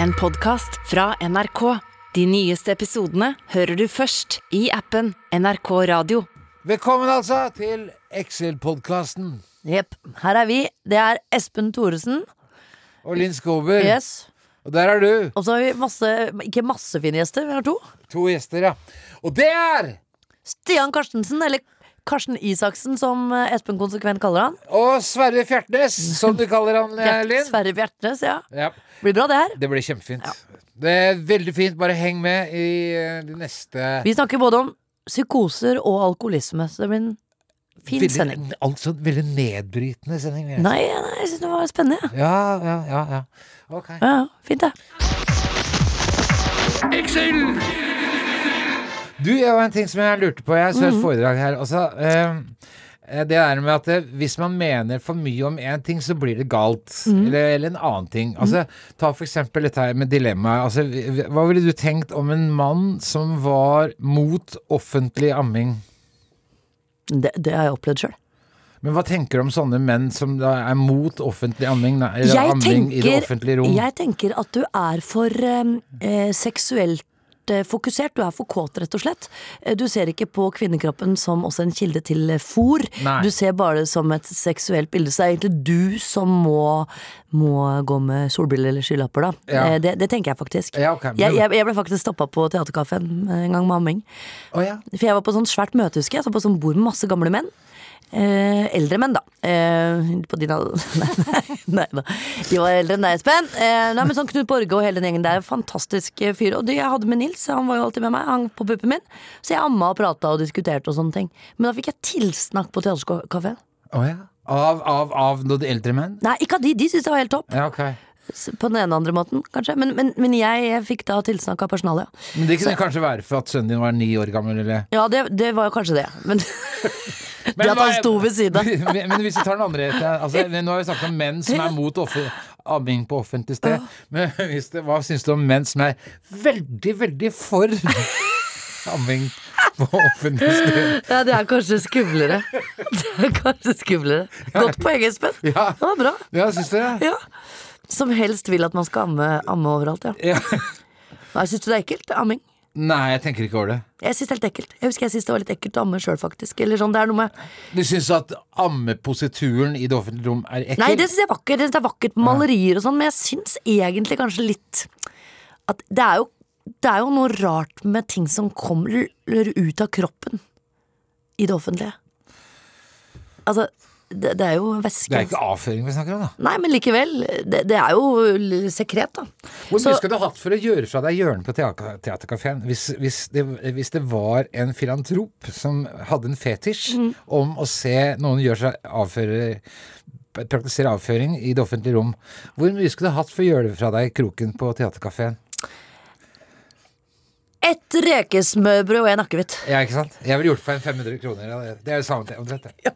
En podcast fra NRK. De nyeste episodene hører du først i appen NRK Radio. Velkommen altså til Excel-podkasten Jepp. Her er vi. Det er Espen Thoresen. og Linn Skåber. Yes. Og der er du. Og så har vi masse Ikke masse fine gjester, vi har to. To gjester, ja. Og det er Stian Karstensen, eller Karsten Isaksen, som eh, Espen konsekvent kaller han. Og Sverre Fjertnes, som du kaller han, eh, Fjert- Linn. Sverre Bjertnæs, ja. Ja, Blir bra, det her. det blir kjempefint. Det er veldig fint. Bare heng med i eh, de neste Vi snakker både om psykoser og alkoholisme, så det blir en fin veldig, sending. Altså veldig nedbrytende sending. vil jeg Nei, nei, jeg syns det var spennende, jeg. si. Ja, ja, ja. ja. Ok. Ja. ja, fint, det. Du, det var en ting som jeg lurte på. Jeg så Mhm. et foredrag her. Altså, eh, det er med at eh, hvis man mener for mye om én ting, så blir det galt. Mhm. Eller, eller en annen ting. Altså, ta for eksempel dette her med dilemmaet. Altså, vi- vi- hva ville du tenkt om en mann som var mot offentlig amming? Det, det har jeg opplevd sjøl. Men hva tenker du om sånne menn som da er mot offentlig amming? da, Eller Jeg amming i det tenker- offentlige rom? Jeg tenker at du er for eh, eh, seksuelt eh, fokusert. Du er for kåt, rett og slett. Eh, Du ser ikke på kvinnekroppen som også en kilde til fòr. Nei. Du ser bare det som et seksuelt bilde. Så det er egentlig du som må, må gå med solbriller eller skylapper, da. Ja. Eh, Det, det tenker jeg faktisk. Ja, ok, men- jeg, jeg, jeg ble faktisk stoppa på Theaterkaffen en gang med amming. Å, ja. For jeg var på sånn svært møte, husker jeg. Så på sånn bord med masse gamle menn. Eh, eldre menn, da. Eh, på din alder nei, nei, nei da. De var eldre enn deg, Espen. Eh, nei, men sånn Knut Borge og hele den gjengen der. Fantastisk eh, fyr. Og det jeg hadde med Nils, han var jo alltid med meg. Han på puppen min. Så jeg amma og prata og diskuterte og sånne ting. Men da fikk jeg tilsnakk på teaterkafeen. Å, ja. Av, av, av noen eldre menn? Nei, ikke av de. De syntes det var helt topp. Ja, ok. S- På den ene andre måten, kanskje. Men, men, men jeg, jeg fikk da tilsnakk av personalet, ja. Men det kunne kanskje være for at sønnen din var ni år gammel, eller Ja, det, det var jo kanskje det. Men det at han hva- sto ved siden av. men, men hvis vi tar den andre etter, altså, Nå har vi snakket om menn som er mot offe- amming på offentlig sted. Men hvis det, hva syns du om menn som er veldig, veldig for amming på offentlig sted? Ja, det er kanskje skumlere. Det er kanskje skumlere. Godt poeng, Espen. Ja, Det var bra. ja syns du det? Ja. Som helst vil at man skal amme, amme overalt, ja. Ja. Nei, Syns du det er ekkelt? Amming? Nei, jeg tenker ikke over det. Jeg syns det er helt ekkelt. Jeg husker jeg syns det var litt ekkelt å amme sjøl, faktisk. Eller sånn, det er noe med Du syns at ammeposituren i det offentlige rom er ekkel? Nei, det syns jeg er vakkert. Det er vakkert med malerier og sånn, men jeg syns egentlig kanskje litt at det er jo det er jo noe rart med ting som kommer ut av kroppen i det offentlige. Altså, det, det er jo væske. Det er ikke avføring vi snakker om, da. Nei, men likevel. Det, det er jo l- sekret, da. Hvor mye Så- skal du ha hatt for å gjøre fra deg hjørnet på teater- teaterkafeen hvis, hvis, det- hvis det var en filantrop som hadde en fetisj om å se noen gjøre seg avføre praktisere avføring i det offentlige rom. Hvor mye skulle du hatt for å gjøre det fra deg i kroken på teaterkafeen? Ett rekesmørbrød og en akevitt. Ja, ikke sant? Jeg ville gjort det for en 500 kroner. ja, det- Det er jo samme te- omtrent, det.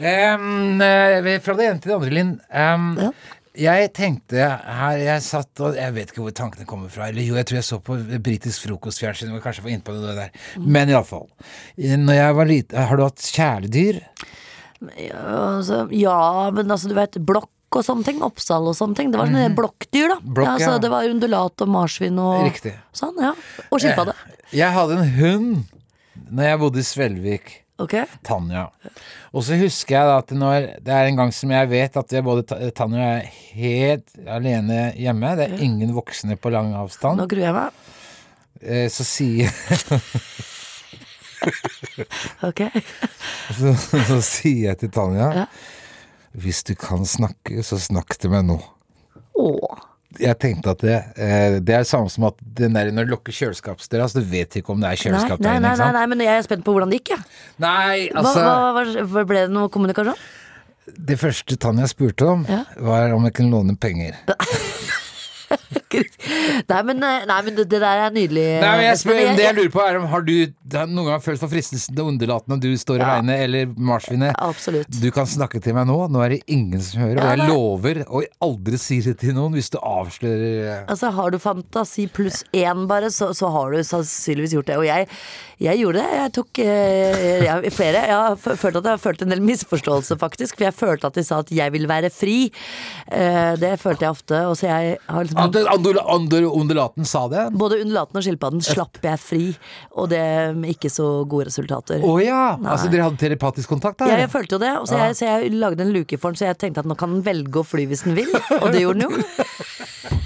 Em, eh, fra det ene til det andre, Linn. Em, Ja. Jeg tenkte her Jeg satt og Jeg vet ikke hvor tankene kommer fra. Eller jo, jeg tror jeg så på britisk frokostfjernsyn. og Kanskje jeg var inne på det der. Mhm. Men iallfall. Når jeg var liten Har du hatt kjæledyr? Ja, Altså, ja, men altså, du vet, blokk og sånne ting. Oppsal og sånne ting. Det var sånne blokkdyr, da. Mhm. Blokk, altså, ja. Det var undulat og marsvin og Riktig. sånn. ja. Og skilpadde. Eh, Jeg hadde en hund når jeg bodde i Svelvik. Ok? Tanja. Og så husker jeg da at når Det er en gang som jeg vet at jeg, både Ta- Tanja og jeg er helt alene hjemme. Det er ingen voksne på lang avstand. Nå gruer jeg meg. Eh, Så sier Ok. Så, så sier jeg til Tanja Ja. Hvis du kan snakke, så snakk til meg nå. Åh. Jeg tenkte at det, eh, det er det samme som at den der, når du lukker kjøleskapsdøra, så du vet ikke om det er Nei, kjøleskap nei, der inne. ikke nei, nei, sant? nei, men jeg er spent på hvordan det gikk, jeg. Nei, Hva, altså hva, hva, ble det noe kommunikasjon? Det første Tanja spurte om, Ja. var om jeg kunne låne penger. Nei, men, eh, nei, men det, det der er nydelig. Nei, men jeg spør, Espen. det jeg lurer på er om Har du har du noen gang følt for fristelsen til underlaten når du står Ja. alene eller marsvinet? Absolutt. Du kan snakke til meg nå, nå er det ingen som hører. Ja, Og nei. jeg lover å aldri si det til noen hvis du avslører eh. Altså, har du fantasi pluss én bare, så, så har du sannsynligvis gjort det. Og jeg, jeg gjorde det. Jeg tok eh, jeg, flere. Jeg har f- følt at jeg har følt en del misforståelse, faktisk. For jeg følte at de sa at jeg vil være fri. Eh, det følte jeg ofte. Og så jeg har At liksom den andul- andul- undulaten sa det? både undulaten og skilpadden slapp jeg fri, og det med ikke så gode resultater. Å ja! Altså dere hadde telepatisk kontakt Ja, der? jeg følte jo det, og så jeg, så jeg lagde en luke for den, så jeg tenkte at nå kan den velge å fly hvis den vil, og det gjorde den jo.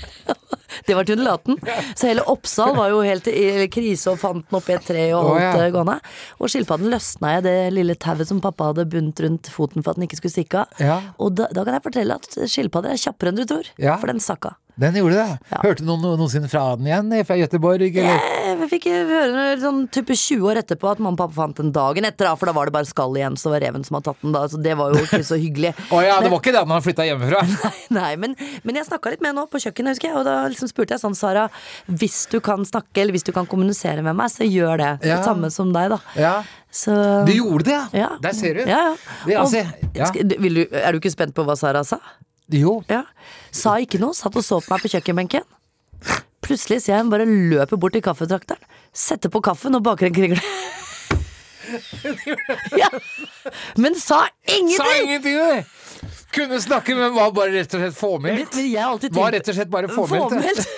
Det var til undulaten. Så hele Oppsal var jo helt i krise og fant den oppi et tre og Å, holdt ja. det gående. Og skilpadden løsna jeg det lille tauet som pappa hadde bundet rundt foten for at den ikke skulle stikke av. Ja. Og da, da kan jeg fortelle at skilpadder er kjappere enn du tror, Ja. for den stakk av. Den gjorde det. Ja. Hørte noen noensinne fra den igjen eh, fra Gøteborg? Eller? Jeg Eh, fikk høre sånn type 20 år etterpå at mamma og pappa fant den dagen etter, da, for da var det bare skall igjen, så det var reven som hadde tatt den da, så det var jo ikke så hyggelig. Å ja, det var ikke den han flytta hjemmefra? Nei, men, men jeg snakka litt med henne også på kjøkkenet, husker jeg. Og da liksom spurte jeg sånn, Sara, hvis du kan snakke eller hvis du kan kommunisere med meg, så gjør det. Det Ja. samme som deg, da. Ja. Så Du gjorde det, ja! Ja. Der ser du. Ja, ja. Det, Og- altså, ja. Skal- du- vil du, er du ikke spent på hva Sara sa? Jo. Ja. Sa ikke noe, satt og så på meg på kjøkkenbenken. Plutselig ser jeg hun bare løper bort til kaffetrakteren, setter på kaffen og baker en kringle. ja. Men sa Sa ingenting! ingenting, du! Kunne snakke, men var bare rett og slett Men- fåmælt. men jeg har alltid Var tenkt- rett og slett bare fåmælt, det. Fåmælt.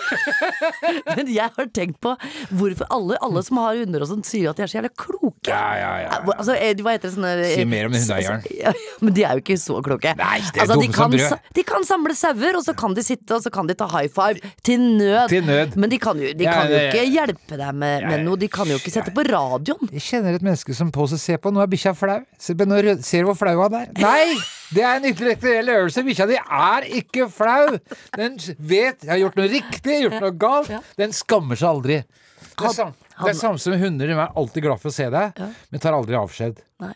men jeg har tenkt på hvorfor alle, alle som har hunder og sånn, sier at de er så jævla kloke. Ja, ja, ja. Hvor- Altså, eh, hva heter det sånne eh, Si mer om den hundeeieren. Ja, Men de er jo ikke så kloke. Nei, de er altså, de dumme som kan, brød. sa- de kan samle sauer, og så kan de sitte og så kan de ta high five. Til nød. Til nød. Men de kan jo, de Ja, kan jo det- ikke hjelpe deg med, med noe. De kan jo ikke sette på radioen. Jeg kjenner et menneske som på seg ser på, nå er bikkja flau. Se, men nå rød- ser du hvor flau han er. Nei! Det er en intellektuell øvelse. Bikkja di er ikke flau. Den vet jeg har gjort noe riktig, jeg har gjort noe galt. Den skammer seg aldri. Det er, sam, det er samme som hunder. De er alltid glad for å se deg, men tar aldri avskjed. Nei.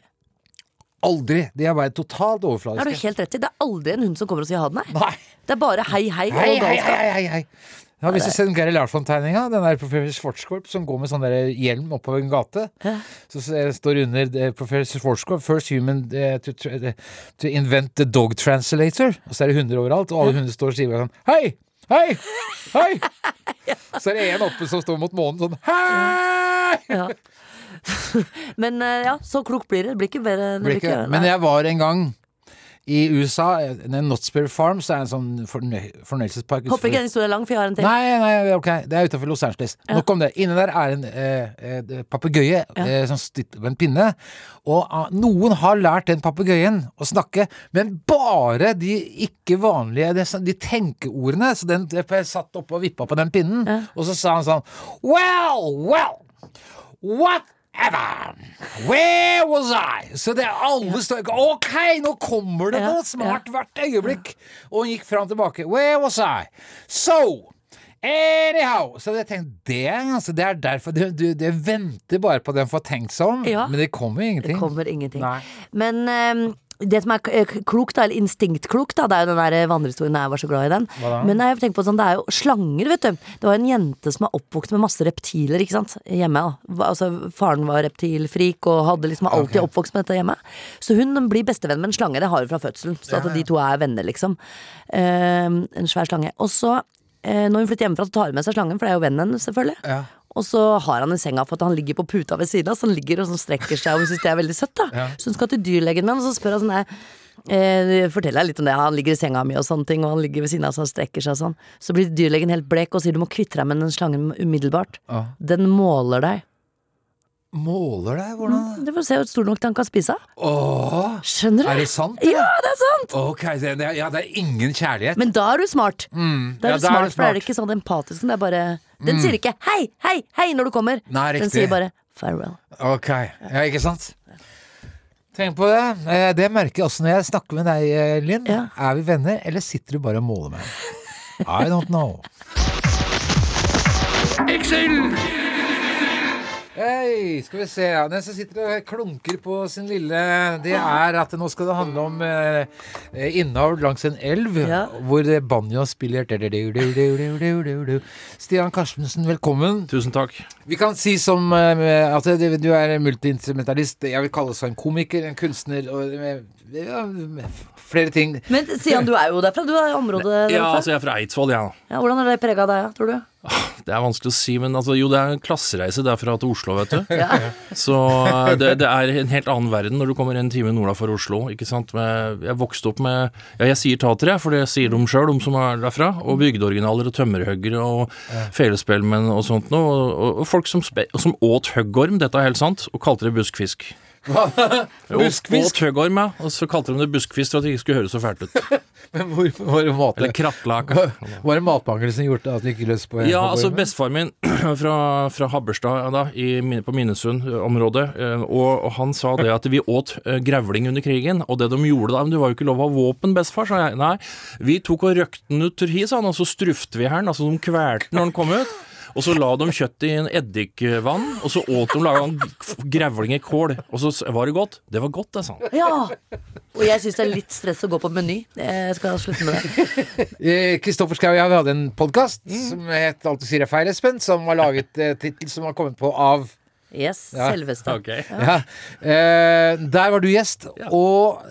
Aldri. De er bare totalt Det har du overfladiske. helt rett i. Det er aldri en hund som kommer og sier ha det, nei. Nei. Det er bare hei, hei, Hei, og hei, galskap. hei, hei, hei. Jeg har lyst til å se den Gary Larsson-tegninga. Den der professor Schwartzkorp som går med sånn der hjelm oppover en gate. Så s- eh, står under eh, professor Schwartzkorp 'First human eh, to, tr- eh, to invent the dog translator'. Og så er det hunder overalt, og alle hunder står og sier bare sånn 'Hei! Hei! Hei!' Så er det en oppe som står mot månen sånn 'Hei!' Ja. Men eh, ja, så klok blir det. Det blir ikke bedre. det Blir blir ikke, ikke- men nei. jeg var en gang i USA, eh, en Knottspere Farm, så er det en sånn fornøy fornøyelsespark Håper utenfor- ikke den historien er lang, for jeg har en til. Nei, nei, ok, det er utenfor Los Angeles. Nok om det. Inne der er en eh, eh, papegøye eh, som sitter med en pinne. Og ah, noen har lært den papegøyen å snakke, men bare de ikke vanlige, de, de tenkeordene. Så den jeg satt oppe og vippa på den pinnen, og så sa han sånn Well, well, whatever. Where was I? Så det er alle står Ok, nå kommer det Ja, noe smart hvert øyeblikk. Og hun gikk fram og tilbake. Where was I? So Anyhow! Så jeg tenkte, det, er ganske- det er derfor du, du, du venter bare på den for å tenke seg om, Ja. men det kommer jo ingenting. Det kommer ingenting. Nei. Men eh, det som er k- eh, klokt, da, eller instinktklokt, da, det er jo den der eh, vandrehistorien jeg var så glad i den. da? Men jeg tenker på sånn, det er jo slanger, vet du. Det var en jente som er oppvokst med masse reptiler ikke sant? hjemme. da Hva- Altså, Faren var reptilfrik og hadde liksom alltid oppvokst med dette hjemme. Så hun blir bestevenn med en slange, det har hun fra fødselen. Så at de to er venner, liksom. Eh, en svær slange. Og så, eh, når hun flytter hjemmefra, så tar hun med seg slangen, for det er jo vennen hennes, selvfølgelig. Ja. Og så har han i senga for at han ligger på puta ved siden av, så han ligger og sånn strekker seg og hun synes det er veldig søtt. da Så hun skal til dyrlegen med han, og så spør han sånn her eh, Fortell deg litt om det, han ligger i senga mi og sånne ting, og han ligger ved siden av så han strekker seg og sånn. Så blir dyrlegen helt blek og sier du må kvitte deg med den slangen umiddelbart. Ja. Den måler deg. Måler deg, hvordan Du får se hvor stor nok den kan spise. av. Åh, Skjønner er du? det sant? Ja, det er sant! Ok, det, det, ja, det er ingen kjærlighet. Men da er du smart. Da ja, er du da er du smart, for da er smart. det ikke sånn empatisk. Den, er bare, den sier ikke 'hei, hei, hei' når du kommer. Nei, den riktig. sier bare 'farewell'. Ok, ja, ikke sant? Tenk på det. Eh, Det merker jeg også når jeg snakker med deg, eh, Linn. Ja. Er vi venner, eller sitter du bare og måler meg? I don't know. Hei, skal vi se. ja. Den som sitter og klunker på sin lille Det er at nå skal det handle om eh, innavl langs en elv, Ja. hvor eh, banjo spiller du-du-du-du-du-du-du. Stian Karstensen, velkommen. Tusen takk. Vi kan si som eh, at det- du er en multiinstrumentalist. Jeg vil kalle seg en komiker, en kunstner og eh, ja, flere ting. Men Sian, du er jo derfra. Du er i området Ja, derfra. altså Jeg er fra Eidsvoll, jeg. Ja. Ja, hvordan har det prega deg, tror du? Det er vanskelig å si, men altså, jo, det er en klassereise derfra til Oslo, vet du. Ja. Så eh, det, det er en helt annen verden når du kommer en time nord for Oslo. ikke sant? Med, jeg vokste opp med Ja, jeg sier tatere, for det sier de sjøl, de som er derfra. Og bygdeoriginaler og tømmerhoggere og felespellmenn og sånt noe. Og, og, og folk som, spe, som åt høggorm, dette er helt sant, og kalte det buskfisk. Jo, Buskfisk? Åt høggorm, ja. Og så kalte de det buskfisk for at det ikke skulle høres så fælt ut. Men hvor, hvor, Eller hvor, krattlaka. var det matmangelen som gjorde at du ikke løs på Ja, på- altså bestefaren min fra, fra Habberstad ja, da, i, Min- på Minnesund-området, eh, og, og han sa det at vi åt eh, grevling under krigen, og det de gjorde da Men du var jo ikke lov å ha våpen, bestefar, sa jeg. Nei, vi tok og røkte den ut til hi, sa han, og så strufte vi her'n, altså de kvelte den når den kom ut. Og så la de kjøttet i en eddikvann, og så åt de laga en grevling i kål. Og så s- var det godt. Det var godt, det, sa han. ja. Og jeg syns det er litt stress å gå på Meny. Jeg skal slutte med det. Eh, Kristoffer Schau og jeg vi hadde en podkast som het Alt du sier er feil, Espen. Som var laget eh, tittel som var kommet på av Yes, Ja. selveste. ja. eh, Der var du gjest, Ja. og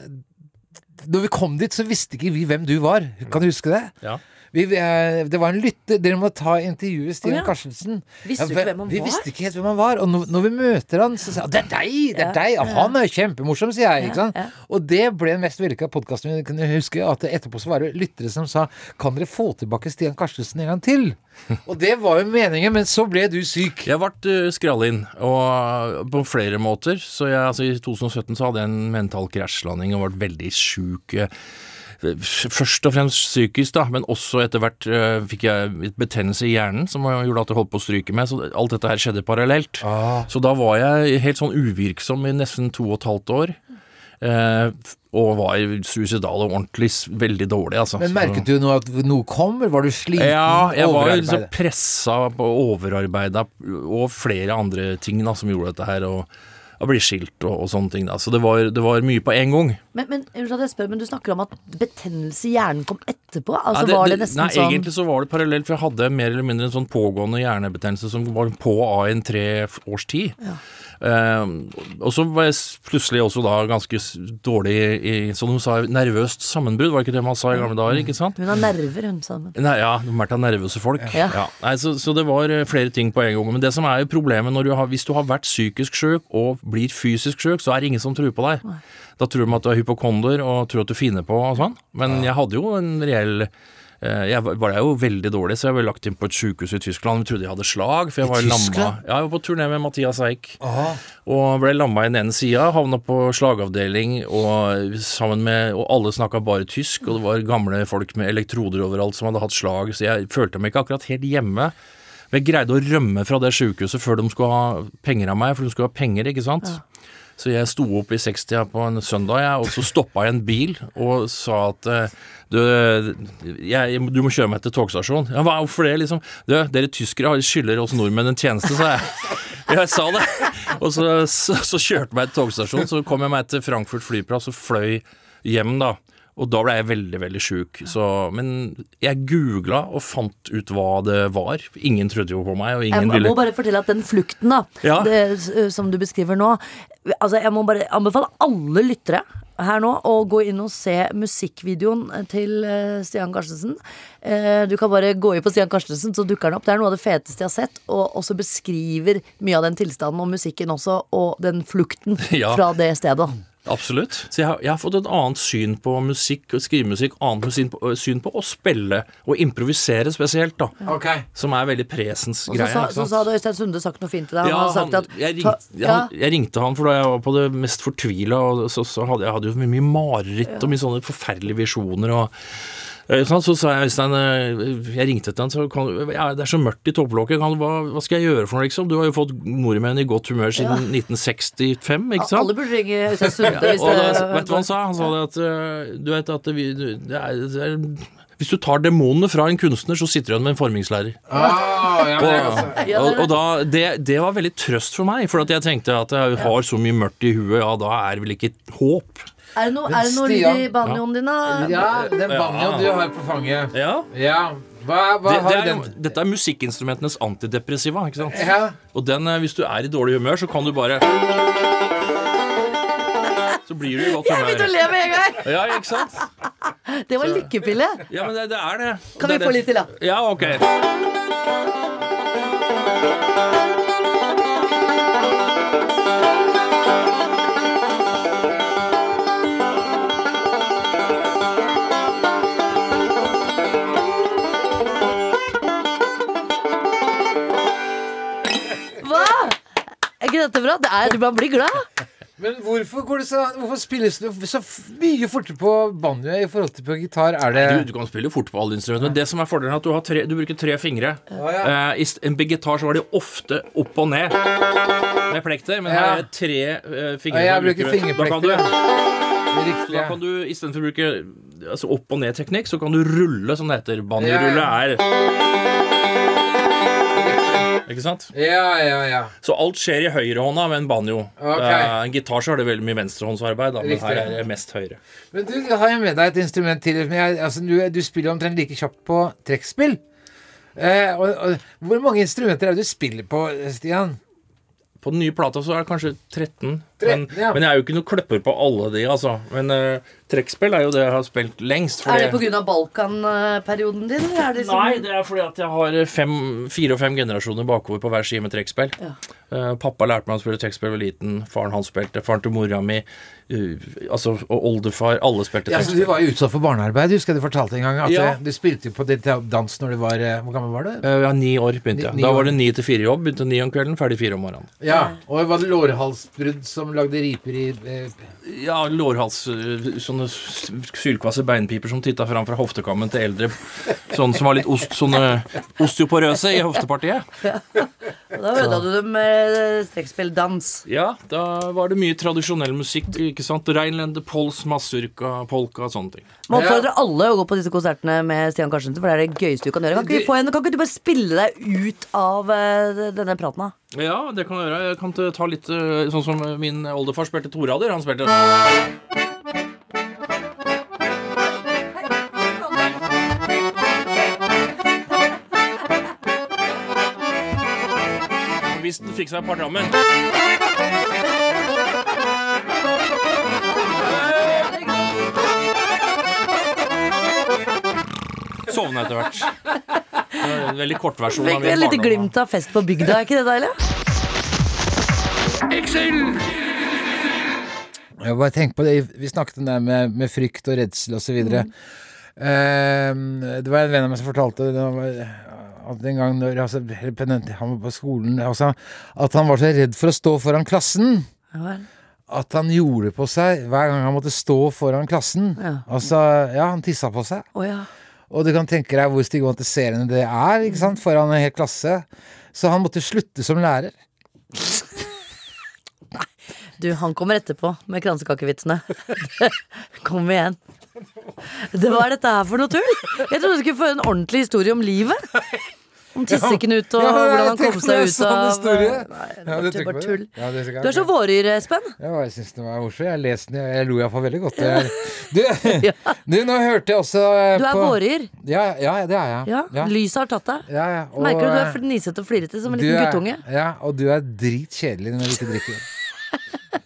når vi kom dit, så visste ikke vi hvem du var. Kan du huske det? Ja. Vi, eh, det var en lytter Dere må ta intervjuet Stian Å, ja. Karstensen. Visste du Ja, ikke hvem han vi var? visste ikke helt hvem han var. Og når, når vi møter han, så sier han 'Det er deg!' det er deg, Og Han er kjempemorsom, sier jeg. ikke sant? ja. Og det ble den mest vellykka podkasten vi kunne huske. At etterpå så var det lyttere som sa 'Kan dere få tilbake Stian Karstensen en gang til?' og det var jo meningen, men så ble du syk. Jeg ble skrallinn, og på flere måter. Så jeg, altså, I 2017 så hadde jeg en mental krasjlanding og ble veldig sjuk. eh, f- Først og fremst psykisk, da, men også etter hvert eh, fikk jeg et betennelse i hjernen som gjorde at jeg holdt på å stryke med. Så det- alt dette her skjedde parallelt. Ah. Så da var jeg helt sånn uvirksom i nesten to og et halvt år. eh, Og var suicidal og ordentlig s- veldig dårlig, altså. Men Så- merket du nå at noe kommer? Var du sliten? ja, jeg var jo Overarbeidet? liksom pressa og overarbeida og flere andre ting da, som gjorde dette her. Og å bli skilt og, og sånne ting. da Så det var, det var mye på én gang. Men, men, unnskyld at jeg spør, men du snakker om at betennelse i hjernen kom etterpå? Altså Nei, det- var det det- nesten nei, sånn Egentlig så var det parallelt, for jeg hadde mer eller mindre en sånn pågående hjernebetennelse som var på av en tre f- års tid. Ehm, og så var jeg s- plutselig også da ganske s- dårlig i, i som de sa, nervøst sammenbrudd, var ikke det man sa i gamle dager? ikke sant? Hun har nerver, hun sammen. Nei, ja, de er til nervøse folk. Ja. Nei, så, så det var eh, flere ting på en gang. Men det som er jo problemet når du har, hvis du har vært psykisk syk og blir fysisk syk, så er det ingen som tror på deg. Da tror de at du er hypokonder og tror at du finner på og sånn. Men jeg hadde jo en reell eh, jeg var var jo veldig dårlig, så jeg ble lagt inn på et sykehus i Tyskland. Vi trodde jeg hadde slag, for jeg I var lamma. Tyskland? Ja, jeg var på turné med Mathias Eik. Aha. Og ble lamma i den ene sida, havna på slagavdeling, og sammen med Og alle snakka bare tysk, og det var gamle folk med elektroder overalt som hadde hatt slag, så jeg følte meg ikke akkurat helt hjemme. Men jeg greide å rømme fra det sjukehuset før de skulle ha penger av meg, for de skulle ha penger, ikke sant. Så jeg sto opp i 60 på en søndag, jeg, og så stoppa jeg en bil og sa at eh, du, jeg, du må kjøre meg til togstasjonen. Ja, hva, hvorfor det, liksom? Du, dere tyskere har- skylder oss nordmenn en tjeneste, sa jeg. Jeg sa det. Og så, så, så kjørte jeg meg til togstasjonen, så kom jeg meg til Frankfurt flyplass og fløy hjem, da. Og da ble jeg veldig, veldig sjuk. Så- Men jeg googla og fant ut hva det var. Ingen trodde jo på meg, og Jeg ingen må ville bare fortelle at den flukten da Ja. det, s- som du beskriver nå Altså Jeg må bare anbefale alle lyttere her nå å gå inn og se musikkvideoen til eh, Stian Karstensen. Eh, Du kan bare gå inn på Stian Karstensen, så dukker den opp. Det er noe av det feteste jeg har sett, og også beskriver mye av den tilstanden og musikken også, og den flukten Ja. fra det stedet. Absolutt. Så jeg har, jeg har fått et annet syn på musikk og skrivemusikk, annet syn på, syn på å spille og improvisere spesielt, da. Ok. Som er veldig presens Og så, greie. sa, ikke så sant? sa hadde Øystein Sunde sagt noe fint til deg. ja, han hadde han, sagt at jeg, ta- ringte, ja. han, jeg ringte han, for da jeg var på det mest fortvila, og så, så hadde jeg hadde jo mye, mye mareritt og mye sånne forferdelige visjoner. og Eh, sånn, så sa jeg Øystein eh, Jeg ringte til han, så kan, du- ja, det er så mørkt i topplokket. Kan, du- hva, hva skal jeg gjøre for noe, liksom? Du har jo fått nordmenn i godt humør siden 1965, ikke sant? Alle burde ringe Øystein Sunde. hvis Og da, det- vet du hva han sa? Han sa det at eh, Du vet at vi, du, det er, det er, Hvis du tar demonene fra en kunstner, så sitter du igjen med en formingslærer. Ah, ja, men, altså. Og, og, og da, det, det var veldig trøst for meg, for at jeg tenkte at jeg har så mye mørkt i huet, ja, da er det vel ikke håp. Er det noe, er det noe Stian- lyd i banjoen din, da? ja, den banjoen du har på fanget. Ja. Ja. Hva, hva Det, det har er, den jo- dette er musikkinstrumentenes antidepressiva, ikke sant? ja. Og den, eh, hvis du er i dårlig humør, så kan du bare Så blir du i godt Jeg begynte å humør. le med en gang! Ja, ikke sant? Det var lykkepille. Ja, men det, det er det. Og Kan det vi få er det- litt til, da? Ja, ok. Hva? Er ikke dette bra? Det er, man blir glad. Men hvorfor, går det så, hvorfor spilles det så f- mye fortere på banjo i forhold til på gitar? Er det Du, du kan spille jo fort på alle instrumenter, men det som er fordelen er at du, har tre, du bruker tre fingre. Å, ja. Eh, I st- en gitar så var det ofte opp og ned med plekter, men her er det tre eh, fingre. Ja, jeg som bruker du- Da fingerplekter, kan du, riktig? da kan du istedenfor å bruke altså opp og ned-teknikk, så kan du rulle, som det heter. Banjerulle er Ikke sant? Ja, ja, ja. Så alt skjer i høyrehånda med en banjo. Ok. Eh, en gitar så har det veldig mye venstrehåndsarbeid, da, men Riktig. her er det mest høyre. Men du jeg har jo med deg et instrument til. Men jeg, altså, du, du spiller omtrent like kjapt på trekkspill. Eh, og, og, hvor mange instrumenter er det du spiller på, Stian? På den nye plata så er det kanskje 13. 13, men, ja. men jeg er jo ikke noe kløpper på alle de, altså. Men eh, trekkspill er jo det jeg har spilt lengst. Er det pga. Balkan-perioden din? Eller er det liksom, Nei, det er fordi at jeg har fem, fire og fem generasjoner bakover på hver side med trekkspill. Ja. Eh, pappa lærte meg å spille trekkspill da jeg var liten. Faren hans spilte. Faren til mora mi. eh, altså, og oldefar. Alle spilte Ja, så du trekkspill. var jo utsatt for barnearbeid. Husker jeg du fortalte en gang at Ja. eh, du spilte jo på ditt dans når du var eh, Hvor gammel var du? Eh, ja, Ni år begynte jeg. Ni- ni da år. var det ni til fire jobb. Begynte ni om kvelden, ferdig fire om morgenen. Ja. Og var det lårhalsbrudd som lagde riper i eh, Ja, lårhals øh, Sånne s- sylkvasse beinpiper som titta fram fra hoftekammen til eldre. Sånn som var litt ost, sånne osteoporøse i hoftepartiet. da ødela du dem med strekkspilldans. Ja, da var det mye tradisjonell musikk. ikke sant? Reinlende, pols, masurka, polka og sånne ting. Man oppfordrer alle å gå på disse konsertene med Stian Karstensen, for det er det gøyeste du kan gjøre. Kan ikke, vi få en, kan ikke du bare spille deg ut av eh, denne praten? da? Ja, det kan jeg gjøre. Jeg kan t- ta litt øh, sånn som min oldefar spilte torader. Han spilte Hvis den fikk seg et par drammen. Sovna etter hvert. Det var en Veldig kortversjon Fikk vi et lite glimt av fest på bygda, er ikke det deilig? Jeg bare tenker på det, Vi snakket om det her med, med frykt og redsel osv. Mm. det var en venn av meg som fortalte det, var- eh, at en gang når, altså, eller på den- han var på skolen altså, At han var så redd for å stå foran klassen Ja, vel. at han gjorde på seg hver gang han måtte stå foran klassen. Ja. Altså, ja, han tissa på seg. Å ja. Og du kan tenke deg hvor stigmatiserende det er ikke sant, foran en hel klasse. Så han måtte slutte som lærer. Du, han kommer etterpå med kransekakevitsene. Kom igjen. Det var dette her for noe tull? Jeg trodde du skulle få en ordentlig historie om livet. Om tisseknut og Ja, ja, hvordan han jeg kom tenkte det seg er ut sånn av eh, historie. Nei, det Ja, var du bare tenker på det? tull. Ja, det skal- Du er så vårgyr, Espen. Ja, og jeg syns den var morsom. Jeg leste den, jeg lo iallfall veldig godt. Du, du, nå hørte jeg også eh, Du er på- vårgyr. Ja, ja, det er jeg. Ja, Lyset har tatt deg. ja, ja, og, Merker du du eh, er fnisete og flirete som en du liten er- guttunge? Ja, og du er dritkjedelig når du ikke drikker.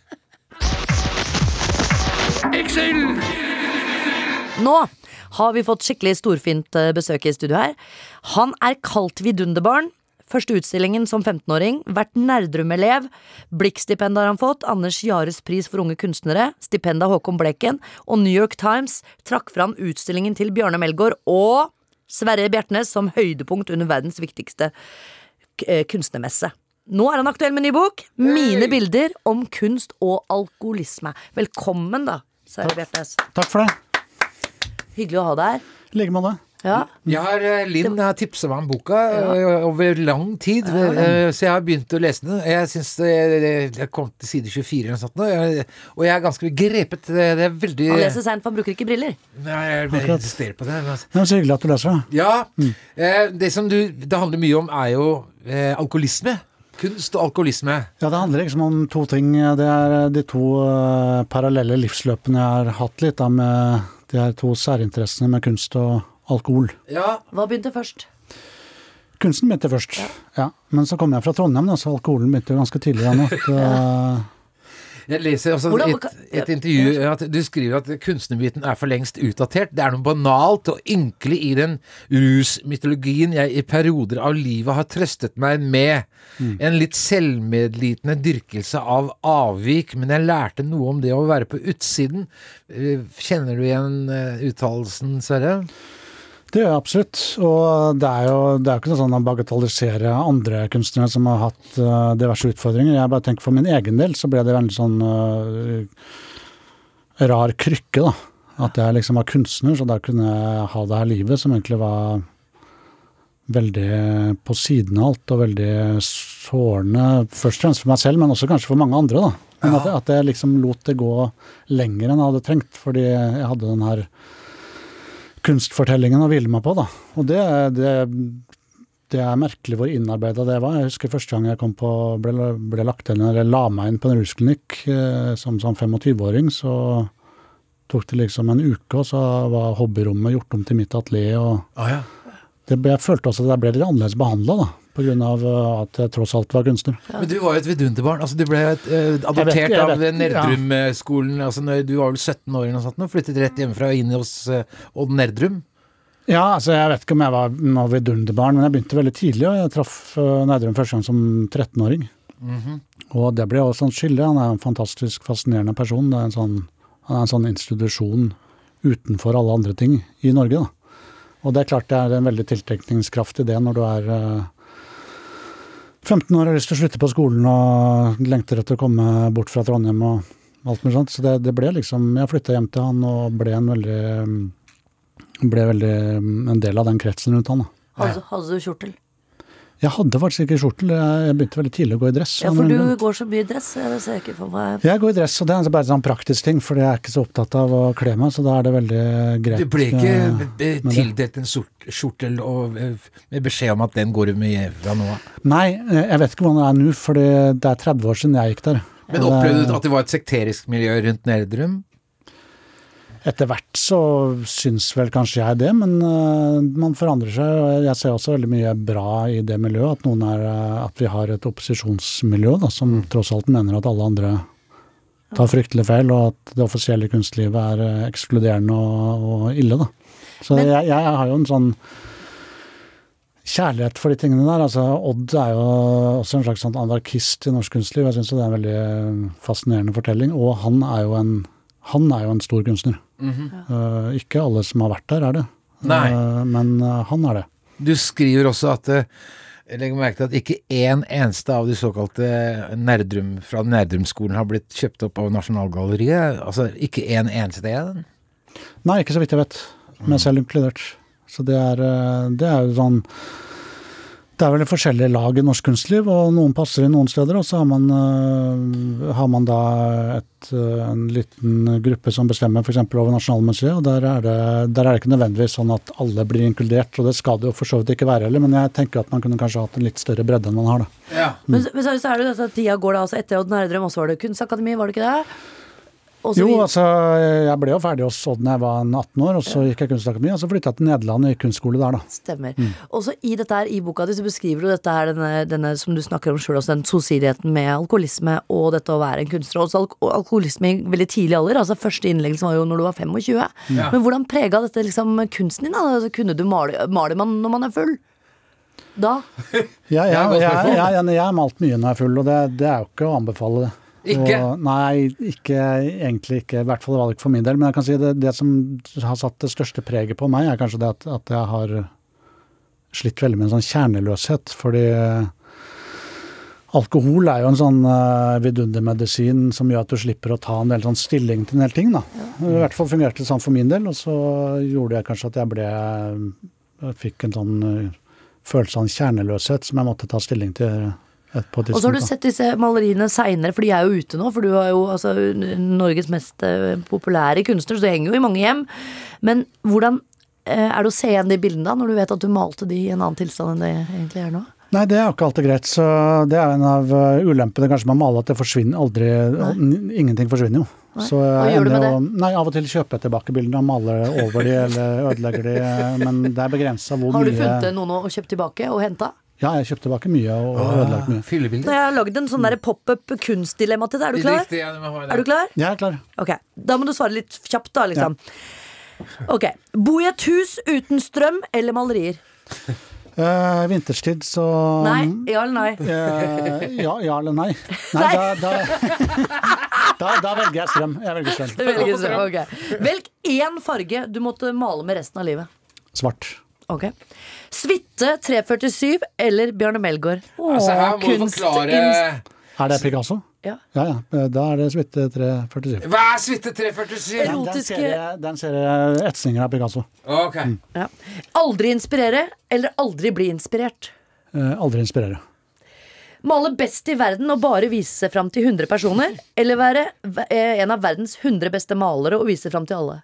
Nå har vi fått skikkelig storfint eh, besøk i studio her. Han er kalt vidunderbarn. Første utstillingen som 15-åring. Vært Nerdrum-elev. Blikkstipend har han fått. Anders Jares pris for unge kunstnere. Stipend av Håkon Bleken. Og New York Times trakk fram utstillingen til Bjarne Melgaard og Sverre Bjertnæs som høydepunkt under verdens viktigste k- eh, kunstnermesse. Nå er han aktuell med ny bok. 'Mine bilder om kunst og alkoholisme'. Velkommen, da, Sverre Bjertnæs. Takk for det. Hyggelig å ha deg her. legger man det. Ja. Jeg har, eh, Linn har tipsa meg om boka eh, over lang tid, eh, så jeg har begynt å lese den. Jeg syns eh, Jeg kom til side 24 eller noe sånt, nå, jeg- og jeg er ganske grepet. Det det er veldig Han leser seint, for han bruker ikke briller. Nei, Jeg bare insisterer på det. men altså- Det er så hyggelig at du leser det. Ja. Eh, det som du, det handler mye om, er jo eh, alkoholisme. Kunst og alkoholisme. Ja, det handler liksom om to ting. Det er de to eh, parallelle livsløpene jeg har hatt litt, da, med de her to særinteressene med kunst og alkohol. Ja, Hva begynte først? Kunsten begynte først, ja. Men så kom jeg fra Trondheim, da, så alkoholen begynte jo ganske tidlig. Da, eh, nå. Det- Jeg leser også Hvordan- et, et intervju at du skriver at kunstnerbiten er for lengst utdatert. Det er noe banalt og ynkelig i den rusmytologien jeg i perioder av livet har trøstet meg med. En litt selvmedlitende dyrkelse av avvik, men jeg lærte noe om det å være på utsiden. Eh, Kjenner du igjen eh, uttalelsen, Sverre? Det gjør jeg absolutt. Og det er jo, det er jo ikke noe sånn å bagatellisere andre kunstnere som har hatt eh, diverse utfordringer. Jeg bare tenker for min egen del så ble det veldig sånn eh, rar krykke, da. At jeg liksom var kunstner, så da kunne jeg ha det her livet som egentlig var veldig på siden av alt, og veldig sårende. Først og fremst for meg selv, men også kanskje for mange andre, da. Men at, jeg- at jeg liksom lot det gå lenger enn jeg hadde trengt, fordi jeg hadde den her kunstfortellingen å hvile meg på, da. Og det, det, det er merkelig hvor innarbeida det var. Jeg husker første gang jeg kom på, ble, ble lagt inn, eller la meg inn på en rusklinikk eh, som, som 25-åring, så tok det liksom en uke, og så var hobbyrommet gjort om til mitt atelier. og det, ble- jeg følte også at jeg ble litt annerledes behandla, da. På grunn av eh, at jeg tross alt var kunstner. Men du var jo et vidunderbarn. Altså, du ble eh, adoptert Jeg vet- jeg av vet- Nerdrum-skolen. Altså, når du var vel 17 år eller noe sånt, nå, flyttet rett hjemmefra og inn hos eh, Odd Nerdrum. Ja, altså jeg vet ikke om jeg var noe vidunderbarn, men jeg begynte veldig tidlig, og jeg traff eh, Nerdrum første gang som 13-åring. Og det ble også et skille. Han er en fantastisk fascinerende person. Det er en sånn, han er en sånn institusjon utenfor alle andre ting i Norge, da. Og det er klart det er en veldig tiltrekningskraft i det når du er eh, 15 år og har lyst til å slutte på skolen og lengter etter å komme bort fra Trondheim og alt mulig sånt. Så det, det ble liksom Jeg flytta hjem til han og ble en veldig eh, ble veldig mm, en del av den kretsen rundt han. da. Hadde, hadde du kjortel? Jeg hadde faktisk ikke skjortel, jeg jeg begynte veldig tidlig å gå i dress. Ja, av for en du grunn. går så mye i dress. Jeg ser ikke for meg Jeg går i dress, og det er altså bare en sånn praktisk ting, for jeg er ikke så opptatt av å kle meg, så da er det veldig greit. Du ble eh, ikke be- tildelt en sort- skjortel og, eh, med beskjed om at den går du med fra nå av? Nei, eh, jeg vet ikke hvordan det er nå, for det er 30 år siden jeg gikk der. Men Og det- opplevde du at det var et sekterisk miljø rundt Nerdrum? Etter hvert så syns vel kanskje jeg det, men øh, man forandrer seg. og Jeg ser også veldig mye bra i det miljøet, at, noen er, øh, at vi har et opposisjonsmiljø da, som Mm. tross alt mener at alle andre tar fryktelig feil, og at det offisielle kunstlivet er øh, ekskluderende og, og ille. Da. Så Men- jeg, jeg har jo en sånn kjærlighet for de tingene der. Altså, Odd er jo også en slags sånn anarkist i norsk kunstliv. Jeg syns det er en veldig øh, fascinerende fortelling, og han er jo en, han er jo en stor kunstner. Eh, ikke alle som har vært der, er det. Nei. Eh, men eh, han er det. Du skriver også at eh, jeg legger merke til at ikke én eneste av de såkalte Nerdrum fra Nerdrum-skolen har blitt kjøpt opp av Nasjonalgalleriet. Altså ikke én eneste en. Nei, ikke så vidt jeg vet. Meg selv inkludert. Så det er, eh, det er jo sånn Det er vel forskjellige lag i norsk kunstliv, og noen passer inn noen steder, og så har man, eh, har man da et, eh, en liten gruppe som bestemmer f.eks. over Nasjonalmuseet, og der er, det, der er det ikke nødvendigvis sånn at alle blir inkludert, og det skal det jo for så vidt ikke være heller, men jeg tenker at man kunne kanskje hatt en litt større bredde enn man har, da. Men, men så, så er det jo dette at tida går da altså etter Odd Nærdrøm, og så var det Kunstakademi, var det ikke det? Og så Jo, videre. altså, jeg ble jo ferdig hos Odd da jeg var en 18 år, og så gikk jeg kunstakademi, og så flytta jeg til Nederland og gikk kunstskole der, da. Stemmer. Mm. Også i dette her, i boka di så beskriver du dette her, denne, denne som du snakker om sjøl, også den tosidigheten med alkoholisme og dette å være en kunstner. Også alk og alkoholisme i veldig tidlig alder. altså Første innleggelsen var jo når du var 25. Men hvordan prega dette liksom kunsten din? da? Altså, kunne du male, maler man når man er full? Da? Jeg, jeg, godt jeg, jeg, spørsmål. jeg, jeg har malt mye når jeg er full, og det, det er jo ikke å anbefale det. Ikke? Og, nei, ikke, egentlig ikke. I hvert fall var det ikke for min del. Men jeg kan si det, det som har satt det største preget på meg, er kanskje det at, at jeg har slitt veldig med en sånn kjerneløshet. Fordi eh, Alkohol er jo en sånn eh, vidundermedisin som gjør at du slipper å ta en del sånn stilling til en del ting. Da. I hvert fall fungerte det sånn for min del, og så gjorde jeg kanskje at jeg ble jeg fikk en sånn eh, følelse av en kjerneløshet som jeg måtte ta stilling til. et- På et Og så har du tidspunkt, da. sett disse maleriene seinere, for de er jo ute nå. For du er jo altså, Norges mest eh, populære kunstner, så du henger jo i mange hjem. Men hvordan eh, er det å se igjen de bildene da, når du vet at du malte de i en annen tilstand enn det egentlig er nå? Nei, det er jo ikke alltid greit. Så det er en av eh, ulempene kanskje med å male, at det forsvinner aldri n- Ingenting forsvinner jo. Nei. Så jeg Hva gjør du ender med jo- Nei, Av og til kjøper jeg tilbake bildene og maler over de eller ødelegger de, eh, men det er begrensa hvor Har du mye funnet noen å kjøpt tilbake og henta? Ja, jeg kjøpte tilbake mye og og ødelagt mye. Fyllebilder. Jeg har lagd en sånn der pop-up kunstdilemma til deg. Er du klar? Riktig, ja, du må ha det. Er du klar? Jeg er klar. Ok, Da må du svare litt kjapt, da. liksom Ok. Bo i et hus uten strøm eller malerier? Eh, vinterstid, så Nei? Ja eller nei? Eh, ja, ja eller nei? Nei, Nei. Da, da, da, da velger jeg strøm. Jeg velger strøm. Du velger strøm, ok. Velg én farge du måtte male med resten av livet. Svart. Ok Suite 347 eller Bjarne Melgaard? Åh, Altså, her må du kunst- forklare inst- Er det Picasso? ja. Ja ja. Eh, Da er det suite 347. Hva er suite 347? Den, den Erotiske- ser jeg, den ser jeg etsinger av Picasso. Ok. ja. Aldri inspirere eller aldri bli inspirert? Eh, aldri inspirere. Male best i verden og bare vise seg fram til 100 personer? Eller være v- eh, en av verdens 100 beste malere og vise fram til alle?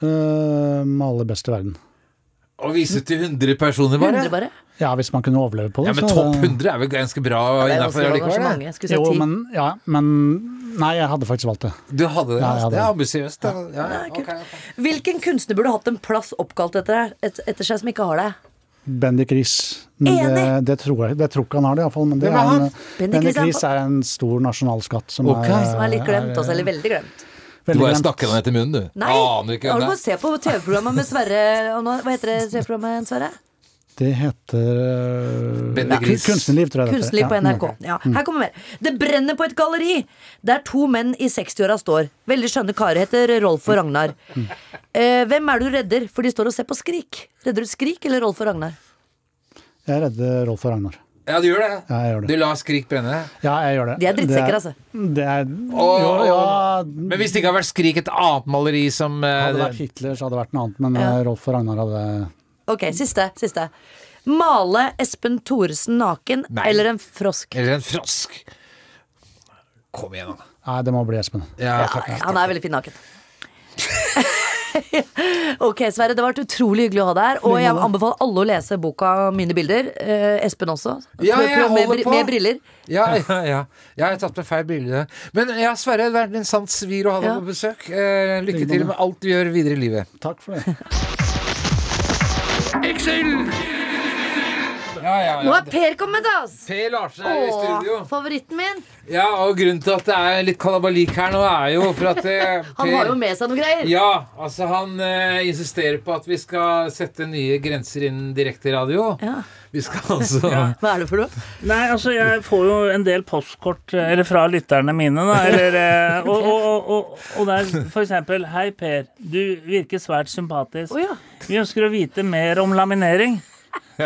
Eh, male best i verden. Å vise til 100 personer, bare? 100 bare? Ja, hvis man kunne overleve på Ja, det. men så topp det- 100 er vel ganske bra Det er innafor vanskelig, det er så likevel? mange. det. Jeg skulle Jo, si 10. men, ja, men Nei, jeg hadde faktisk valgt det. Du hadde det? Ja, jeg altså. hadde Det er det. ambisiøst. da. Ja, ja, ok, ok. Hvilken kunstner burde hatt en plass oppkalt etter, et- etter seg, som ikke har det? Bendik Riis. Men Enig. det, det tror jeg det tror ikke han har, det iallfall. Men det Hvem er er han? en, Bendik Riis Bendik er- Riis er en stor nasjonalskatt som Ok. er, Som er litt glemt, altså. Eller veldig glemt. veldig Du bare glemt. snakker den etter munnen, du. Nei, Aner ikke har du hvem det på å er. se på TV-programmet med Sverre og nå, Hva heter det TV-programmet, Sverre? Det heter øh, Bendik kun- Riis. Kunstnerliv, tror jeg det Kunstliv heter. på Ja, mm, NRK. Ja, her kommer mer. Det brenner på et galleri, der to menn i 60-åra står. Veldig skjønne karer heter Rolf og Ragnar. Eh, hvem er det du redder? For de står og ser på Skrik. Redder du Skrik eller Rolf og Ragnar? Jeg redder Rolf og Ragnar. Ja, du gjør det? Ja, jeg gjør det. Du lar Skrik brenne? Ja, jeg gjør det. De er drittsekker, Det altså. Det er, Åh. jo, ja, Men hvis det ikke har vært Skrik, et annet maleri som eh, hadde det det- vært Hitler, så hadde det vært noe annet. Men Ja. øh, Rolf og Ragnar hadde Ok, siste. siste Male Espen Thoresen naken Nei. eller en frosk? Eller en frosk. Kom igjen, da. Nei, det må bli Espen. Ja, takk. Han er veldig fin naken. ok, Sverre, det har vært utrolig hyggelig å ha deg her. Og jeg anbefaler alle å lese boka Mine bilder. Eh, Espen også. Ja, jeg Prøv- prøv med, holder bri- på. med briller. Ja, ja, ja. Jeg har tatt med feil briller. Men ja, Sverre, det har vært en sann svir å ha deg Ja. på besøk. Eh, lykke til med alt du gjør videre i livet. Takk for det. Ja, ja, Nå er Per kommet, altså! Per Larsen er i studio. Åh, favoritten min. Ja, og grunnen til at det er litt kalabalik her nå, er jo for at eh, Han har jo med seg noe greier. Ja, altså han eh, insisterer på at vi skal sette nye grenser innen direkteradio. Ja. Vi skal altså Hva er det for noe? Nei, altså jeg får jo en del postkort eh, Eller fra lytterne mine da eller, eh, og, og, og, og, og der for eksempel Hei Per, du virker svært sympatisk Å ja. Vi ønsker å vite mer om laminering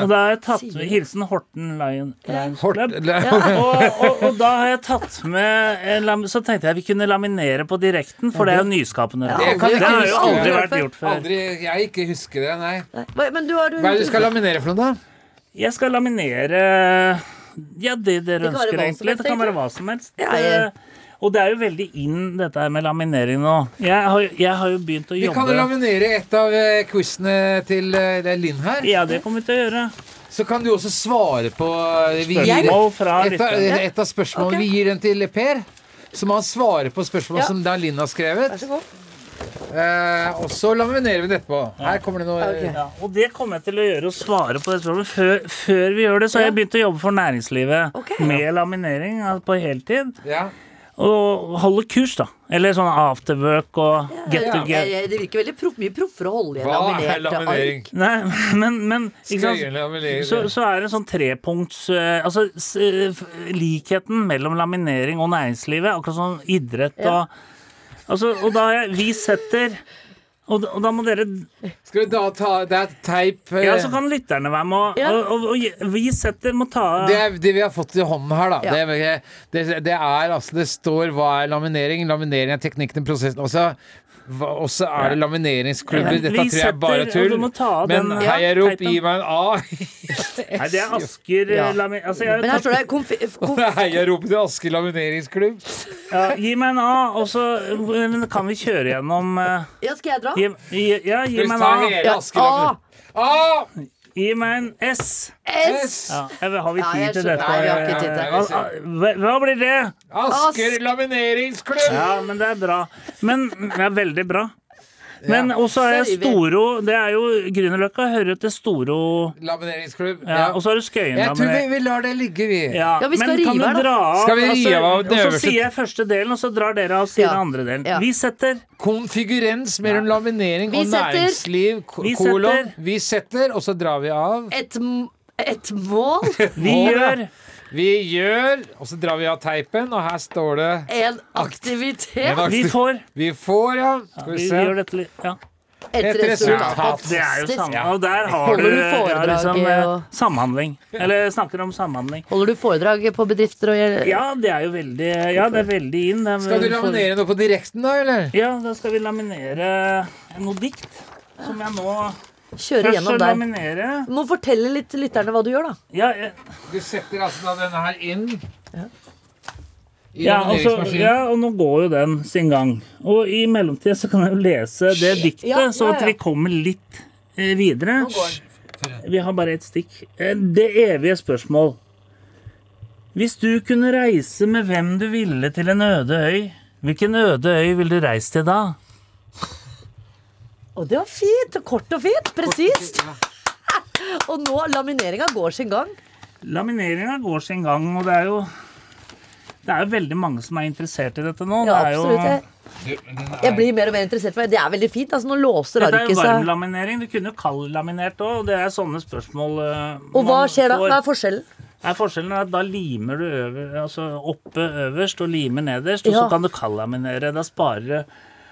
Og da har jeg tatt Sier du? med Hilsen Horten Lion, Lions Hort, Club og, og, og da har jeg tatt med en lam- Så tenkte jeg vi kunne laminere på direkten For det er jo nyskapende Det kan jeg Det ikke har jo huske. aldri vært gjort før Aldri Jeg ikke husker det, nei. Nei, hva- Men du har du Hva er det du skal laminere for noe, da? Jeg skal laminere Ja, det dere Det kan være ønsker, hva som egentlig. helst, Det kan være egentlig. hva som helst. Ja, jeg- Eh, Og det er jo veldig inn, dette her med laminering nå. Jeg har, jeg har jo begynt å Vi kan jo jobbe laminere et av eh, quizene til eh, det er Linn her. Ja, det kommer vi til å gjøre. Så kan du også svare på eh, vi gir, Spørsmål fra et, av, lytterne. et av spørsmålene. Ok. Vi gir den til Per. Så må han svare på spørsmål Ja. som da Linn har skrevet. Vær så god. Eh, og så laminerer vi den etterpå. Her kommer det noe Ok. Ja, og det kommer jeg til å gjøre og svare på det spørsmålet. Før, før vi gjør det, så har jeg begynt å jobbe for næringslivet Ok. med laminering altså, på heltid. ja. Og holde kurs, da. Eller sånn afterwork og get Ja, to Jeg- get. jeg- Det virker veldig proff, mye proffere å holde i en Hva er laminert laminering? ark. Nei, men, men ikke Skal sant? jeg gjøre laminering? så, så er det sånn trepunkts eh, Altså s- eh, f- likheten mellom laminering og næringslivet, akkurat som idrett og Altså, og da har jeg Vi setter Og, da- og da må dere Skal vi da ta Det er teip eh, Ja, så kan lytterne være med, og, Ja. og, og, og gi- vi setter må ta det, er det vi har fått i hånden her, da. Ja. Det, det, det er altså Det står hva er laminering? Laminering er teknikken, prosessen også. hva- Også er det lamineringsklubber. Men Dette vi tror jeg er bare setter- tull. og altså, du må ta av Men den- ja, heiarop, teipen. gi meg en A. Nei, det er Asker eh, Ja. Lami... Altså, jeg, Men her står det konfi... konf- Heiarop til Asker lamineringsklubb. ja, gi meg en A, og så men kan vi kjøre gjennom eh, Ja, skal jeg dra? gi, gi, Ja, gi Hvis meg ta en A. hele Ja, Asker A. laminering. A! Gi meg en S. S! S! Ja, jeg, vil- har vi Ja, jeg tid til skjønner. dette? Nei, vi har Ja, ikke tid ja, til ja, vi det. ser. Hva, hva blir det? Asker Ask- lamineringsklubb! Ja, men det er bra. Men det er veldig bra. Men også er jeg Storo Det er jo Grünerløkka hører jo til Storo Lamineringsklubb. ja, Og Ja. så er det Skøyen. Jeg tror vi, laminert. vi lar det ligge, vi. Ja, Ja, vi skal men kan rive her, du da. dra av Altså, Skal vi rive av den Og så øverste? sier jeg første delen, og så drar dere av og sier Ja. den andre delen. Ja. Vi setter Konfigurens mellom laminering Vi og setter- næringsliv, ko- Vi kolon. setter- Vi setter, og så drar vi av. Et, m- et mål? Vi Å, ja. gjør Vi gjør, og så drar vi av teipen, og her står det En aktivitet? En Vi aktiv- får Vi får, ja. Skal Vi vi gjør se. dette litt ja. Et Et resultat? resultat. Det er jo Fantastisk. samme Og der har Holder du du ja, liksom, foredrag, eh, og- samhandling. Eller snakker om samhandling. Holder du foredrag på bedrifter og gjør Ja, det er jo veldig Ja, det er veldig inn. Det er, Skal du laminere noe på direkten, da, eller? Ja, da skal vi laminere noe dikt. Som jeg nå Kjøre Først så gjennom der? laminere Du må fortelle litt til lytterne hva du gjør, da. Ja, eh, Du setter altså da denne her inn. I ja, og så- lamineringsmaskinen. altså, ja, og nå går jo den sin gang. Og i mellomtida så kan jeg jo lese det diktet, Ja, ja, så at ja. vi kommer litt eh, videre. Vi har bare ett stikk. Eh, Det evige spørsmål. Hvis du kunne reise med hvem du ville til en øde øy, hvilken øde øy ville du reist til da? Og det var fint! Kort og fint. Presist. Og nå, lamineringa går sin gang. Lamineringa går sin gang, og det er jo det er jo veldig mange som er interessert i dette nå. Ja, det er jo, absolutt. Jeg, jeg blir mer og mer interessert. i det. Det er veldig fint. Altså, nå låser Dette er jo arket seg. varmlaminering. Du kunne jo kaldlaminert òg, og det er sånne spørsmål eh, Og hva man skjer da? får. Hva er forskjellen? Nei, forskjellen er at da limer du øver, altså oppe øverst og limer nederst, og Ja. så kan du kalaminere. Da sparer du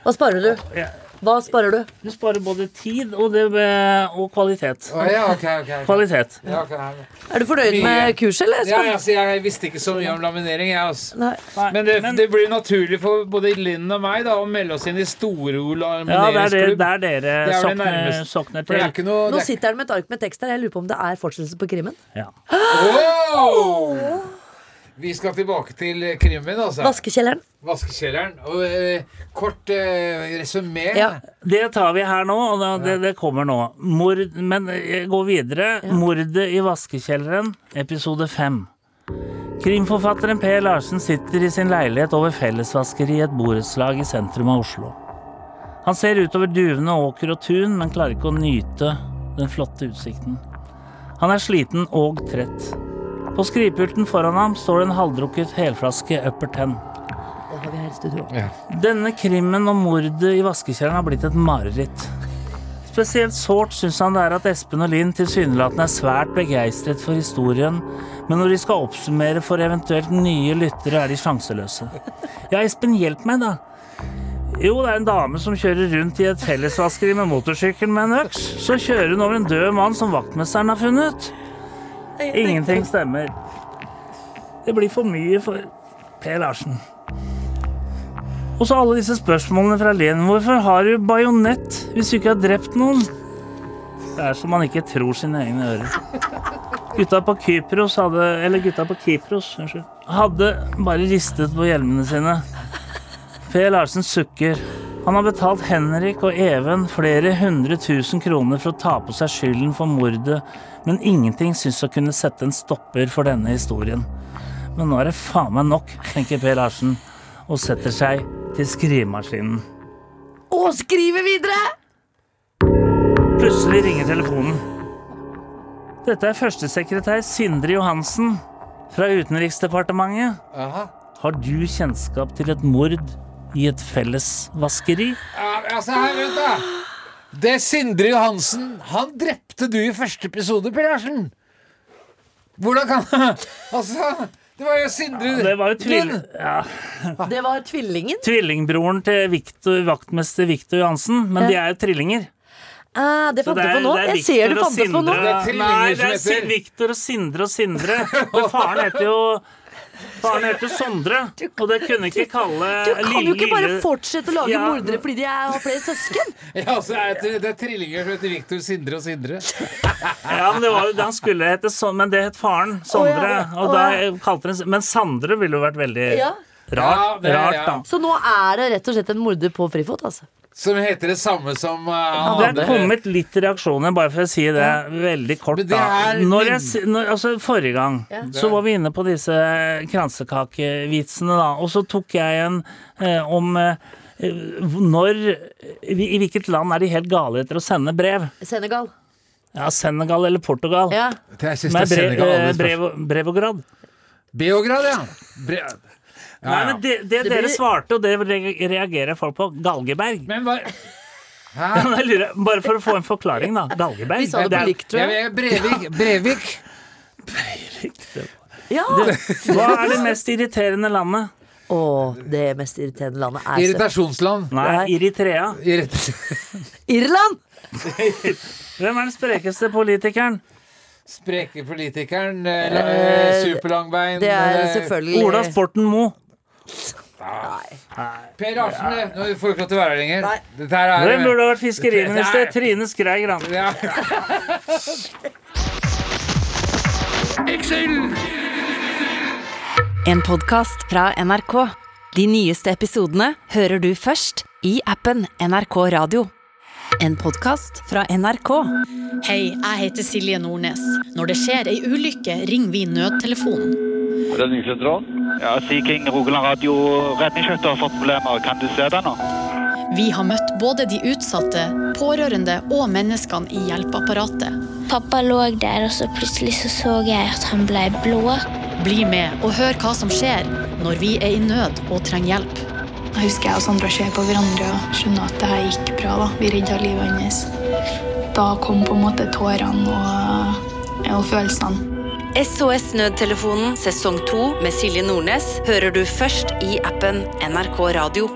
Hva sparer du? ja, Hva sparer du? Du sparer både tid og, det, eh, og kvalitet. Å, ja, ok, ok, ok. Kvalitet. Ja, ok, her. Er du fornøyd med kurset, eller? Ja, Espen? altså, jeg visste ikke så mye om laminering, jeg, altså. Nei. Nei, Men det, men- det blir naturlig for både Linn og meg da, å melde oss inn i Storo ja, det er det- lamineringsklubb. der dere Det er vel det sokner, nærmeste. sokner For det er ikke til. noe Nå det er, sitter han med et ark med tekst her. Jeg lurer på om det er fortsettelse på krimmen. Ja. Wow! Vi skal tilbake til krimmen, altså. Vaskekjelleren. Vaskekjelleren. Og eh, kort uh, resumé. Ja. Det tar vi her nå, og da, det, det kommer nå. Mord, men jeg går videre. 'Mordet i vaskekjelleren', episode fem. Krimforfatteren Per Larsen sitter i sin leilighet over fellesvaskeri i et borettslag i sentrum av Oslo. Han ser utover duvende åker og tun, men klarer ikke å nyte den flotte utsikten. Han er sliten og trett. På skrivepulten foran ham står det en halvdrukket helflaske Upper Ten. Det har vi her i studio. Denne krimmen om mordet i vaskekjelleren har blitt et mareritt. Spesielt sårt syns han det er at Espen og Linn tilsynelatende er svært begeistret for historien, men når de skal oppsummere for eventuelt nye lyttere, er de sjanseløse. Ja, Espen, hjelp meg, da. Jo, det er en dame som kjører rundt i et fellesvaskeri med motorsykkel med en øks. Så kjører hun over en død mann som vaktmesteren har funnet. Ingenting stemmer. Det blir for mye for Per Larsen. Og så alle disse spørsmålene fra Len. Hvorfor har du bajonett hvis du ikke har drept noen? Det er som man ikke tror sine egne ører. Gutta på Kypros hadde Eller gutta på Kypros, unnskyld. Hadde bare ristet på hjelmene sine. Per Larsen sukker. Han har betalt Henrik og Even flere hundre tusen kroner for å ta på seg skylden for mordet, men ingenting syns å kunne sette en stopper for denne historien. Men nå er det faen meg nok, tenker Per Larsen og setter seg til skrivemaskinen. Og skrive videre! Plutselig ringer telefonen. Dette er førstesekretær Sindre Johansen fra Utenriksdepartementet. Aha. Har du kjennskap til et mord i et fellesvaskeri? Ja, altså, her, vent, da. Det er Sindre Johansen. Han drepte du i første episode, Per Larsen. Hvordan kan Altså, Det var jo Sindre Det var jo tvill... Lund. ja, Det var tvillingen. tvillingbroren til Victor, vaktmester Viktor Johansen, men de er jo trillinger. Ah, det Så fant du det er- på nå. det er Jeg ser du Victor og fant det på nå. Sindre- Det er trillinger Nei, det som er heter. Sin- Victor og Sindre og Sindre. For faren heter jo Faren heter Sondre, og det kunne ikke kalle Du kan jo ikke bare lille- fortsette å lage Ja. mordere fordi de er, har flere søsken. Ja, så er det, det er trillinger som heter Victor, Sindre og Sindre. Ja, men det var jo Han skulle hete Son- men det het faren. Sondre. Å, ja. Og Å, da ja. kalte den Men Sandre ville jo vært veldig Ja. Ja, rart, det er- rart, da. Så nå er det rett og slett en morder på frifot, altså. Som heter det samme som eh, han Det andre. er kommet litt reaksjoner, bare for å si det veldig kort. Men det da. er Når min- jeg, si- når, altså, forrige gang så var vi inne på disse kransekakevitsene, da. Og så tok jeg en eh, om eh, når I hvilket land er de helt gale etter å sende brev? Senegal. Ja, Senegal eller Portugal? Ja. Det er siste Med brev, Senegal, alle eh, spørsmål. brev, Brevograd. Beograd, ja. Bre ja, Nei, ja. men det, det, blir- dere svarte, og det re- reagerer folk på. Galgeberg. Men hva Ja, Hæ? men jeg lurer- Bare for å få en forklaring, da. Galgeberg. Vi sa det Det på er- likt, tror Jeg jeg. vet- Brevik. Brevik. Ja. Hva er det mest irriterende landet? Å, det mest irriterende landet er Irritant. Irritasjonsland. Nei, Eritrea. Irrit Irland! Hvem er den sprekeste politikeren? Spreke politikeren. eh, la- eh, Superlangbein. Det er eh, selvfølgelig Ola Sporten Moe. Per Arsen, det. Nå får du ikke lov til å være her lenger. Nei. Dette her er Hvem burde ha vært fiskeriminister? Nei. Trine Skei Grande. ja. En podkast fra NRK. De nyeste episodene hører du først i appen NRK Radio. En podkast fra NRK. Hei, jeg heter Silje Nordnes. Når det skjer ei ulykke, ringer vi nødtelefonen. Redningssentralen. Ja, Sea King Rogaland Radio redningsskøyter har fått problemer. Kan du se det nå? Vi har møtt både de utsatte, pårørende og menneskene i hjelpeapparatet. Pappa lå der, og så plutselig så, så jeg at han ble blå. Bli med og hør hva som skjer når vi er i nød og trenger hjelp. Jeg husker jeg og Sandra ser på hverandre og skjønner at det her gikk bra. da. Vi redda livet hans. Da kom på en måte tårene og, og følelsene. SOS Nødtelefonen sesong 2 med Silje Nordnes hører du først i appen NRK Radio.